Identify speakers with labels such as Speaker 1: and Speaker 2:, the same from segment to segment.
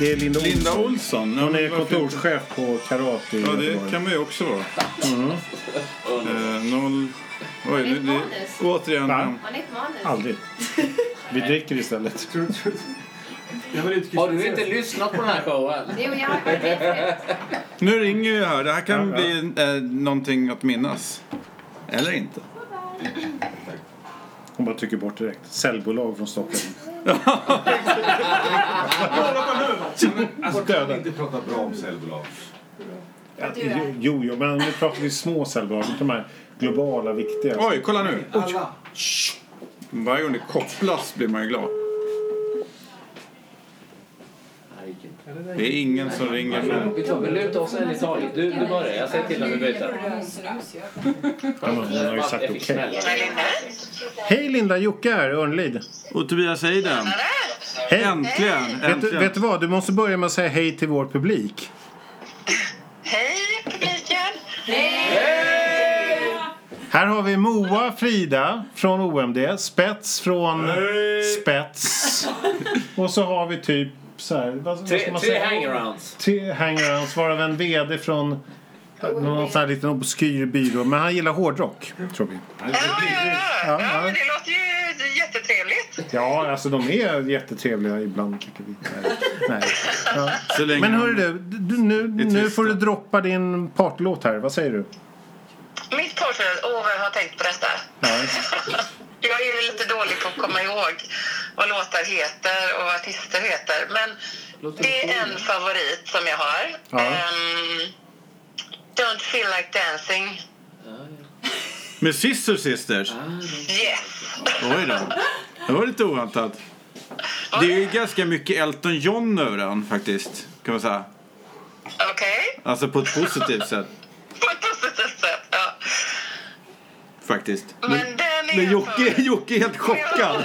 Speaker 1: Det är Linda Olsson.
Speaker 2: Linda Olsson. Ja,
Speaker 1: Hon är
Speaker 2: men varför inte?
Speaker 1: kontorschef på Karate i
Speaker 2: Ja, det
Speaker 1: Göteborg.
Speaker 2: kan man ju också vara. Mm. Eh, noll... Oj, det, det, återigen...
Speaker 1: Va?
Speaker 3: Har ni ett manus?
Speaker 1: Aldrig. Vi dricker istället.
Speaker 4: Jag vill inte
Speaker 5: Har du inte lyssnat på den här showen?
Speaker 3: Jo, jag har varit med.
Speaker 2: Nu ringer ju här. Det här kan
Speaker 1: Ja, ja.
Speaker 2: bli eh, någonting att minnas. Eller inte.
Speaker 1: Hon bara trycker bort direkt. Säljbolag från Stockholm.
Speaker 4: alltså, kan vi inte prata bra om säljbolag?
Speaker 1: Ja,
Speaker 3: Du är.
Speaker 1: Jo, jo, men nu pratar vi små säljbolag. Inte de här globala, viktiga.
Speaker 2: Oj, kolla nu.
Speaker 4: Alla.
Speaker 2: Varje gång det kopplas blir man ju glad. Det är ingen som ringer från...
Speaker 5: Vi tar väl luta oss en i taget. Du, du börjar. Jag säger till när vi byter.
Speaker 1: Ja, men hon har ju sagt
Speaker 5: Jag
Speaker 1: okej.
Speaker 5: fick smälla.
Speaker 1: Hej Linda, Jocke här, Örnlid.
Speaker 2: Och Tobias Eiden.
Speaker 1: Hej.
Speaker 2: Äntligen!
Speaker 1: Vet, du-
Speaker 2: äntligen.
Speaker 1: vet du vad, du måste börja med att säga hej till vår publik.
Speaker 6: Hej publiken!
Speaker 1: Här har vi Moa Frida från OMD, Spets från Spets. Och så har vi typ så här, vad, vad ska
Speaker 5: Tre,
Speaker 1: man
Speaker 5: tre
Speaker 1: säga?
Speaker 5: hangarounds.
Speaker 1: Tre hangarounds, varav en VD från någon sån här liten obskyr byrå. Men han gillar hårdrock, tror vi.
Speaker 6: Ja, ja, ja.
Speaker 1: Ja, ja.
Speaker 6: ja men det låter ju jättetrevligt.
Speaker 1: Ja, alltså de är jättetrevliga ibland. kanske vi- Nej. Nej. Ja.
Speaker 2: Så länge
Speaker 1: Men hörru
Speaker 2: de-
Speaker 1: du, du nu, nu får du droppa din partlåt här. Vad säger du?
Speaker 6: Mitt portfölj, åh vad jag har tänkt på detta.
Speaker 1: Ja.
Speaker 6: Jag är ju lite dålig på att komma ihåg vad låtar heter och vad artister heter. Men det är en favorit som jag har.
Speaker 1: Ja.
Speaker 6: Ehm, Don't feel like dancing.
Speaker 2: Med Sister Sisters.
Speaker 6: Yes.
Speaker 2: Oj då. Det var lite oväntat. Det är ju ganska mycket Elton John över den faktiskt. Kan man säga.
Speaker 6: Okej.
Speaker 2: Alltså på ett positivt sätt
Speaker 6: På ett positivt sätt. Ja.
Speaker 2: faktiskt.
Speaker 6: Men den är
Speaker 2: Men
Speaker 6: en
Speaker 2: Jocke,
Speaker 6: favorit.
Speaker 2: Jocke är helt chockad.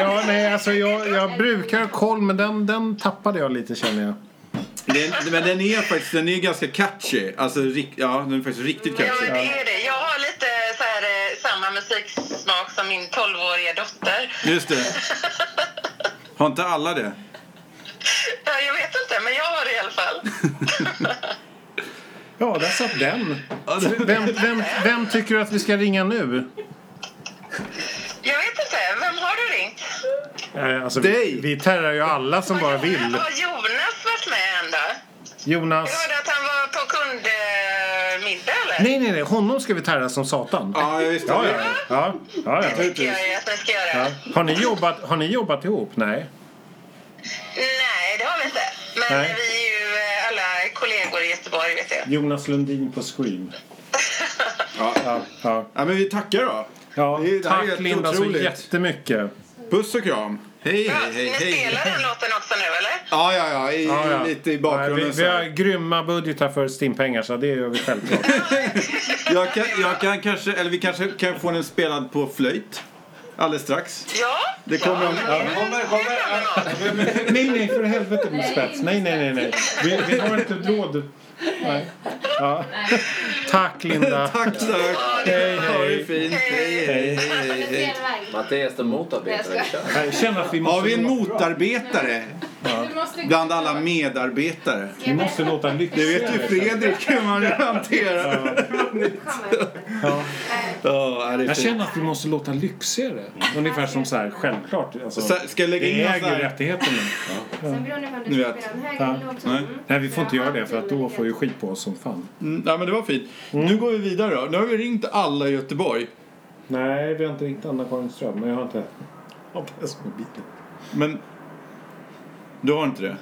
Speaker 1: Ja, nej, alltså jag, jag brukar ha koll, men den, den tappade jag lite känner jag.
Speaker 2: Den, men den är faktiskt den är ganska catchy. Alltså rik, ja, den är faktiskt riktigt
Speaker 6: Ja, men
Speaker 2: catchy.
Speaker 6: det är det. Jag har lite så här, eh, samma musiksmak som min 12-åriga dotter.
Speaker 2: Just det. Har inte alla det?
Speaker 6: Ja, jag vet inte, men jag har det i alla fall.
Speaker 1: Ja, där satt den.
Speaker 2: Ja, det-
Speaker 1: Vem, vem, vem tycker du att vi ska ringa nu?
Speaker 6: Jag vet inte. Vem har du ringt?
Speaker 1: Eh, Alltså,
Speaker 2: Dig.
Speaker 1: vi, vi terrar ju alla som bara vill.
Speaker 6: Har Jonas varit med än då?
Speaker 1: Jonas.
Speaker 6: Jag hörde att han var på kundmiddag, eller?
Speaker 1: Nej, nej, nej. Honom ska vi terra som satan.
Speaker 2: Ja, jag visste
Speaker 1: Ja,
Speaker 2: det.
Speaker 1: ja, ja. ja,
Speaker 6: Det
Speaker 1: ja.
Speaker 6: tycker jag ju att ni ska göra.
Speaker 1: ja. Har, ni jobbat, har ni jobbat ihop? Nej.
Speaker 6: Nej, det har vi inte. Men
Speaker 1: Nej.
Speaker 6: vi är ju eh, alla kollegor i Göteborg, vet jag.
Speaker 1: Jonas Lundin på Scream. Ja, ja.
Speaker 2: Ja, men vi tackar då.
Speaker 1: ja.
Speaker 2: Det är- det här är
Speaker 1: Tack
Speaker 2: helt
Speaker 1: Linda så
Speaker 2: otroligt.
Speaker 1: jättemycket.
Speaker 2: Puss och kram. Hej, hej, hej,
Speaker 6: ni
Speaker 2: hej.
Speaker 6: spelar den låten också nu, eller?
Speaker 2: Ja, ja, ja. I,
Speaker 1: Ja, ja.
Speaker 2: Lite i
Speaker 1: Ja, vi,
Speaker 2: bakgrunden. så
Speaker 1: vi har
Speaker 2: här.
Speaker 1: grymma budgetar för stimpengar, så det gör vi självklart.
Speaker 2: Jag kan, jag kan kanske, eller vi kanske kan få den spelad på flöjt. Alldeles strax.
Speaker 6: Ja.
Speaker 2: Det kommer om-
Speaker 6: ja, men det ser jag fram emot.
Speaker 1: Nej, nej, för helvete med spets. Nej, nej, nej, nej. Vi, vi har inte råd. Nej. Ja. Tack, Linda.
Speaker 2: Tack, tack.
Speaker 1: Hej,
Speaker 2: Ha det
Speaker 1: hej.
Speaker 2: fint.
Speaker 6: Eh,
Speaker 2: Hej, hej, hej, hej, hej.
Speaker 5: Mattias den motarbetare.
Speaker 3: Jag ska-
Speaker 1: Jag känner att vi måste,
Speaker 2: Har vi en motarbetare bland alla medarbetare?
Speaker 1: vi måste låta
Speaker 2: Det
Speaker 1: lyckliga.
Speaker 2: vet ju Fredrik hur man hanterar. Ja, är det
Speaker 1: Jag
Speaker 2: fint.
Speaker 1: känner att vi måste låta lyxigare. Ungefär som så här, självklart. Alltså,
Speaker 2: Så- Ska jag lägga in
Speaker 1: vi
Speaker 2: något
Speaker 1: äger ju
Speaker 2: sånt här?
Speaker 1: rättigheterna.
Speaker 3: Sen beroende på om
Speaker 2: Ni
Speaker 3: du
Speaker 2: vet.
Speaker 3: spelar en hög eller Mm. låg
Speaker 2: Nej.
Speaker 3: ton.
Speaker 1: Nej, vi får inte göra det för att då får vi skit på oss som fan.
Speaker 2: Mm, Ja, men det var fint. Nu går vi vidare då. Nu har vi ringt alla i Göteborg.
Speaker 1: Nej, vi har inte ringt Anna-Karin Ström, men jag har inte... Jag har inte ens mobilen.
Speaker 2: Men du har inte det?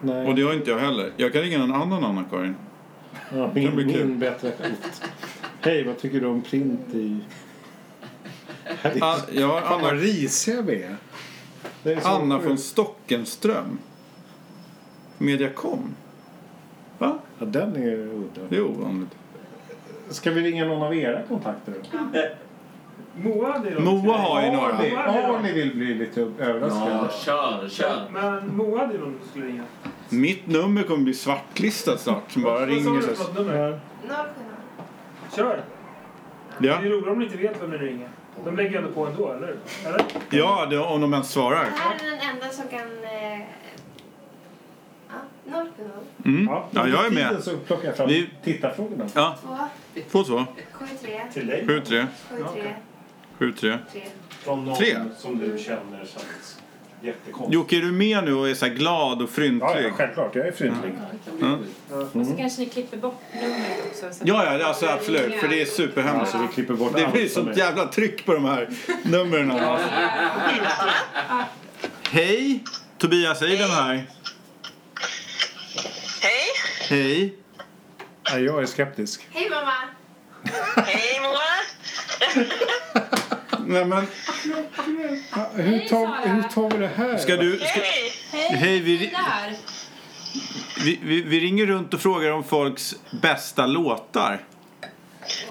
Speaker 1: Nej.
Speaker 2: Och det har inte jag heller. Jag kan ringa någon annan Anna-Karin.
Speaker 1: Ja,
Speaker 2: kan bli
Speaker 1: min,
Speaker 2: kul.
Speaker 1: min bättre skit. Hej, vad tycker du om print i...
Speaker 2: Ah, ja,
Speaker 1: Fan vad
Speaker 2: Anna,
Speaker 1: risiga vi är. Det är så
Speaker 2: Anna
Speaker 1: sjukt.
Speaker 2: från Stockenström. Mediacom. Va?
Speaker 1: Ja, den är ju udda.
Speaker 2: Det är ovanligt.
Speaker 1: Ska vi ringa någon av era kontakter då?
Speaker 4: Moa hade ju någonting.
Speaker 2: Moa har ju några.
Speaker 4: det-
Speaker 1: Om ni vill bli lite överraskade.
Speaker 5: Kör, kör.
Speaker 4: Men Moa hade ju någon du skulle ringa.
Speaker 2: Mitt nummer kommer bli svartlistat snart som bara
Speaker 7: Vad sa
Speaker 2: ringer.
Speaker 7: du för
Speaker 2: Så.
Speaker 7: något nummer? Kör!
Speaker 2: Ja,
Speaker 7: Det är roligt om ni inte vet vem ni ringer. De lägger ändå på ändå, eller? Eller?
Speaker 2: ja det, om de ens svarar.
Speaker 3: Det här är den enda som kan... Eh, ja, 070
Speaker 2: Mm.
Speaker 1: Ja,
Speaker 2: Ja, jag är
Speaker 1: under
Speaker 2: med.
Speaker 1: tiden så plockar jag fram
Speaker 2: Vi-
Speaker 1: tittarfrågorna.
Speaker 2: Ja,
Speaker 3: 2
Speaker 2: 2-2.
Speaker 3: 73
Speaker 7: Till dig?
Speaker 2: 7-3.
Speaker 3: 73
Speaker 2: 7-3.
Speaker 3: 3.
Speaker 8: Från någon
Speaker 2: Tre.
Speaker 8: som du känner så att... Jättekonstigt.
Speaker 2: Jocke, är du med nu och är så här glad och
Speaker 1: Ja,
Speaker 2: fryntlig?
Speaker 1: ja, självklart. Jag är fryntlig.
Speaker 9: Och så kanske ni klipper bort numret också. Så att-
Speaker 2: Ja, ja, alltså absolut. För det är superhemskt.
Speaker 1: Så Alltså, vi klipper bort
Speaker 2: Det
Speaker 1: allt
Speaker 2: blir
Speaker 1: som
Speaker 2: sånt
Speaker 1: är-
Speaker 2: jävla tryck på de här numren. alltså. Hej! Tobias Eiden här.
Speaker 6: Hej!
Speaker 2: Hej.
Speaker 1: Ja, jag är skeptisk.
Speaker 3: Hej mamma!
Speaker 6: Hej Moa!
Speaker 2: Nej, men,
Speaker 1: Hur tar,
Speaker 9: tar- Sara.
Speaker 1: hur
Speaker 9: hur
Speaker 1: tar vi det här?
Speaker 2: ska du... Ska,
Speaker 6: Hej!
Speaker 9: Hej,
Speaker 2: Hej, vi-
Speaker 9: det här.
Speaker 2: vi, vi, vi ringer runt och frågar om folks bästa låtar.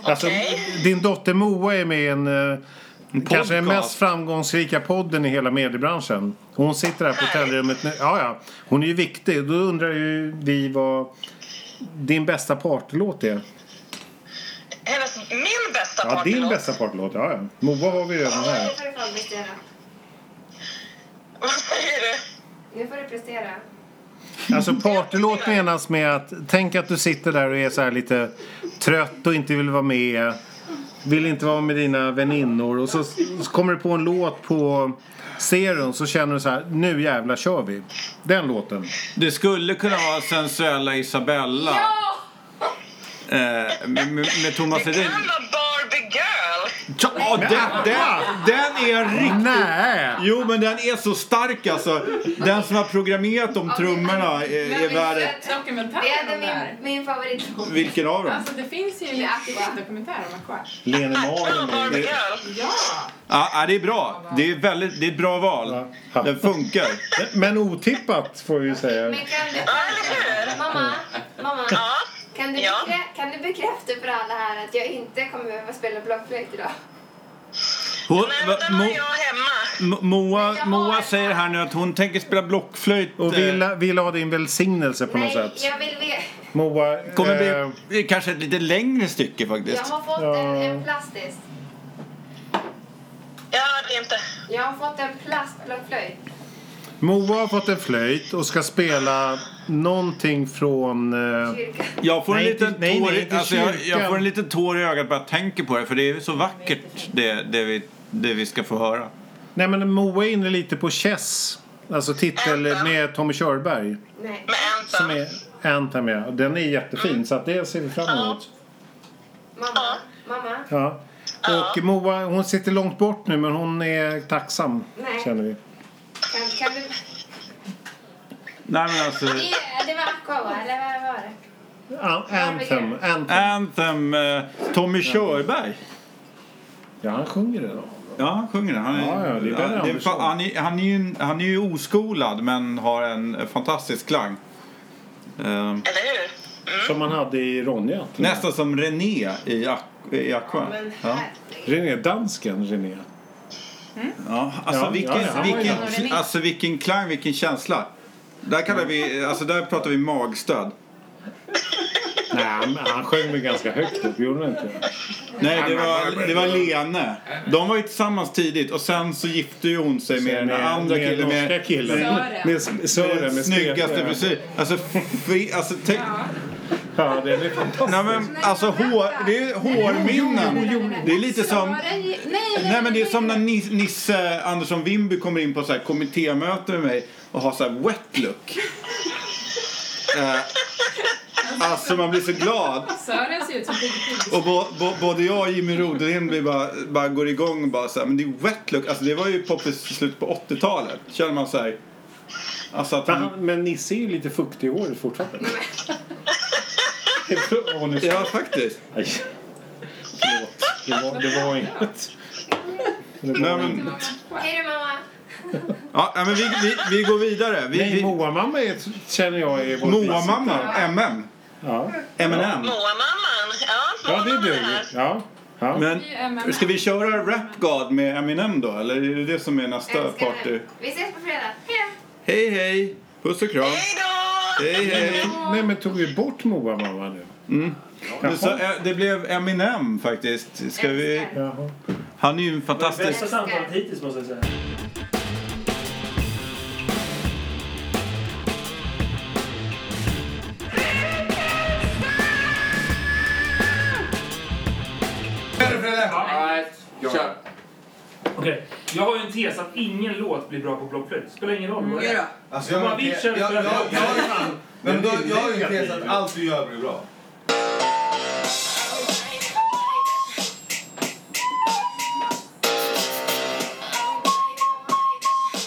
Speaker 1: Alltså, din dotter Moa är med i en... eh, Kanske den
Speaker 2: podcast.
Speaker 1: mest framgångsrika podden i hela mediebranschen. Hon sitter här på hotellrummet nu. Ja, ja. Hon är ju viktig. Då undrar ju vi vad din bästa partylåt är.
Speaker 6: Hennes, min bästa
Speaker 1: Ja, din
Speaker 6: partylåt.
Speaker 1: bästa partylåt. Ja, ja. Moa har vi redan här.
Speaker 3: Nu får du fan prestera.
Speaker 6: Vad säger du?
Speaker 3: Nu får du prestera.
Speaker 1: Alltså partylåt menas med att tänk att du sitter där och är så här lite trött och inte vill vara med. Vill inte vara med dina väninnor och så, så kommer du på en låt på Serum så känner du så här nu jävla kör vi. Den låten.
Speaker 2: Det skulle kunna vara Sensuella Isabella. Eh, med, med med Thomas
Speaker 6: Det
Speaker 2: Ledin.
Speaker 6: kan vara Barbie Girl.
Speaker 2: Ja, den, den, den är riktigt...
Speaker 1: Nej!
Speaker 2: Jo, men den är så stark alltså. Den som har programmerat de trummorna är,
Speaker 9: Men
Speaker 2: är värd ett...
Speaker 9: visst är dokumentären
Speaker 3: Det
Speaker 9: om det
Speaker 3: är
Speaker 9: här?
Speaker 3: min, min favoritlåt.
Speaker 2: Vilken av dem?
Speaker 9: Alltså det finns ju en aktiv dokumentär om Aqua.
Speaker 1: Lene
Speaker 6: Ja,
Speaker 1: Malin.
Speaker 6: Barbie Girl.
Speaker 9: Ja!
Speaker 2: Ja, ja, det är bra. Det är, väldigt, det är ett bra val.
Speaker 1: Ja.
Speaker 2: Den funkar.
Speaker 1: Men otippat får vi ju säga.
Speaker 3: Men kan du...
Speaker 6: Ja, eller hur?
Speaker 3: Mamma, mamma.
Speaker 6: Ja.
Speaker 3: Kan du,
Speaker 6: Ja.
Speaker 3: bekrä, kan du bekräfta för alla här att jag inte kommer behöva spela blockflöjt idag?
Speaker 2: Hon,
Speaker 6: Nej,
Speaker 2: va,
Speaker 6: men den har
Speaker 2: Mo,
Speaker 6: jag hemma.
Speaker 2: Mo- Moa, Moa säger här nu att hon tänker spela blockflöjt.
Speaker 1: Och
Speaker 2: eh,
Speaker 1: vill, vill ha din välsignelse på något
Speaker 3: Nej,
Speaker 1: sätt.
Speaker 3: jag vill veta.
Speaker 1: Moa,
Speaker 2: kommer
Speaker 1: eh,
Speaker 2: bli det är kanske ett lite längre stycke
Speaker 3: Jag
Speaker 2: faktiskt.
Speaker 3: har fått en, en plastisk.
Speaker 6: Ja, det är inte...
Speaker 3: Jag har fått en plastblockflöjt.
Speaker 1: Moa har fått en flöjt och ska spela någonting från... Eh,
Speaker 3: Kyrkan.
Speaker 2: Jag får, en
Speaker 1: Nej,
Speaker 2: liten
Speaker 1: inte- nej,
Speaker 2: tår,
Speaker 1: nej,
Speaker 2: i-
Speaker 1: inte
Speaker 2: alltså, jag, jag
Speaker 1: kyrkan.
Speaker 2: får en liten tår i ögat bara jag tänker på det för det är så vackert det, det, vi, det vi ska få höra.
Speaker 1: Nej men Moa är inne lite på Chess. Alltså titel med Tommy Körberg.
Speaker 3: Nej.
Speaker 6: Med
Speaker 1: Som
Speaker 6: Anthem.
Speaker 1: är Anthem ja. Och Den är jättefin så att det ser vi fram emot.
Speaker 3: Mamma, mamma.
Speaker 1: Ja. Och Moa hon sitter långt bort nu men hon är tacksam.
Speaker 3: Nej.
Speaker 1: Känner vi.
Speaker 3: Kan, kan du...
Speaker 2: Nej men alltså...
Speaker 3: Det- Det var Aqua va? Eller vad var det?
Speaker 1: A- Anthem. Anthem.
Speaker 2: Anthem, eh, Tommy Körberg.
Speaker 1: Ja han sjunger det då.
Speaker 2: Ja, han sjunger den. Han är,
Speaker 1: Ja, ja, det är Benny
Speaker 2: han,
Speaker 1: Andersson.
Speaker 2: han, är, han, är ju, en- han är ju oskolad men har en fantastisk klang. Eh,
Speaker 6: Eller hur?
Speaker 1: Som man hade i Ronja. till
Speaker 2: nästan som René i, Aqu- i Aqua.
Speaker 3: Men
Speaker 2: Ja.
Speaker 1: och
Speaker 3: herregud.
Speaker 1: med. René, dansken René.
Speaker 2: Ja, alltså,
Speaker 1: Ja,
Speaker 2: vilken,
Speaker 1: ja, ja, han var ju
Speaker 2: vilken, alltså vilken klang, vilken känsla. Där, kallar vi, alltså, där pratar vi magstöd.
Speaker 1: Nej men han sjöng väl ganska högt upp, gjorde han inte?
Speaker 2: Nej, det var, det var Lene. De var ju tillsammans tidigt och sen så gifte ju hon sig med den andra
Speaker 1: med
Speaker 2: killen.
Speaker 1: norska
Speaker 2: Med,
Speaker 1: killen.
Speaker 9: Sören.
Speaker 1: Med, med Sören. Med
Speaker 2: snyggaste
Speaker 1: Stefan.
Speaker 2: frisyr. Alltså, fri, alltså, tänk,
Speaker 1: Ja, den är fantastisk.
Speaker 2: Nej men alltså hår, det är hårminnen. Det är lite som...
Speaker 9: Bara ge- Nej, nej,
Speaker 2: Nej men det är som när Nis- Nisse Andersson Wimby kommer in på så här kommittémöte med mig och har så här wet look. Eh, Alltså man blir så glad.
Speaker 9: Sören ser ut som Piggy
Speaker 2: Och bo, bo, både jag och Jimmy Rodén blir bara, bara går igång och bara så här, men det är wet look. Alltså det var ju poppis i slutet på 80-talet. Känner man så här. Alltså att
Speaker 1: Men,
Speaker 2: han,
Speaker 1: han, men Nisse är ju lite fuktig i håret fortfarande. Hon är så-
Speaker 2: ja faktiskt.
Speaker 1: Nej. Förlåt. Det var, det var inget. Det
Speaker 2: Nej
Speaker 1: var
Speaker 2: men,
Speaker 3: Hej då mamma.
Speaker 2: ja, nej, men vi, vi, vi går vidare. Vi,
Speaker 1: Nej,
Speaker 2: vi,
Speaker 1: Moa-mamma är- känner jag är vår
Speaker 2: Moa-mamma, MM.
Speaker 1: Ja.
Speaker 2: M&M.
Speaker 6: Moa-mamman. Ja,
Speaker 1: ja, det är
Speaker 6: Moa-mamman
Speaker 1: du.
Speaker 6: här.
Speaker 1: Ja. Ja.
Speaker 2: Men
Speaker 9: M&M.
Speaker 2: ska vi köra Rap God med Eminem då? Eller är det det som är nästa
Speaker 3: Älskar
Speaker 2: party?
Speaker 3: dig. Vi ses på fredag.
Speaker 2: Hej
Speaker 3: Hej då.
Speaker 2: hej! Puss och kram!
Speaker 6: Hej då!
Speaker 2: Hej, hej.
Speaker 1: Nej men tog vi bort Moa mamma nu?
Speaker 2: Du sa, eh, det blev Eminem faktiskt. Ska vi...
Speaker 3: Älskar.
Speaker 1: Jaha.
Speaker 2: Han är ju en fantastisk...
Speaker 7: Bästa samtalet hittills måste jag säga.
Speaker 5: Nej, kör.
Speaker 7: Okej, jag har ju en tes att ingen låt blir bra på blockflöjt. Spelar ingen roll. vad det
Speaker 10: Okej
Speaker 7: är.
Speaker 10: då.
Speaker 4: Alltså, jag har en te- jag- jag- jag- jag- men då- jag har ju en tes att allt du gör blir bra.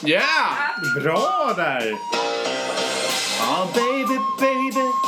Speaker 2: Yeah!
Speaker 1: Bra där!
Speaker 2: Ah, baby, baby.